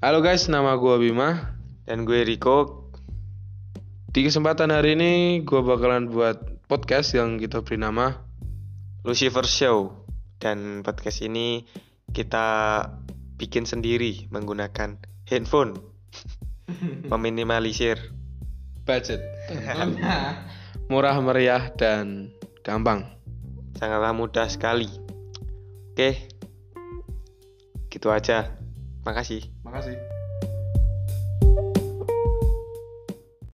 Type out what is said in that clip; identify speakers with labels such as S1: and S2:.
S1: Halo guys, nama gue Bima
S2: Dan gue Riko
S1: Di kesempatan hari ini gue bakalan buat podcast yang kita beri nama
S2: Lucifer Show Dan podcast ini kita bikin sendiri menggunakan handphone Meminimalisir
S1: Budget Murah meriah dan gampang
S2: Sangatlah mudah sekali Oke Gitu aja Makasih
S1: Makasih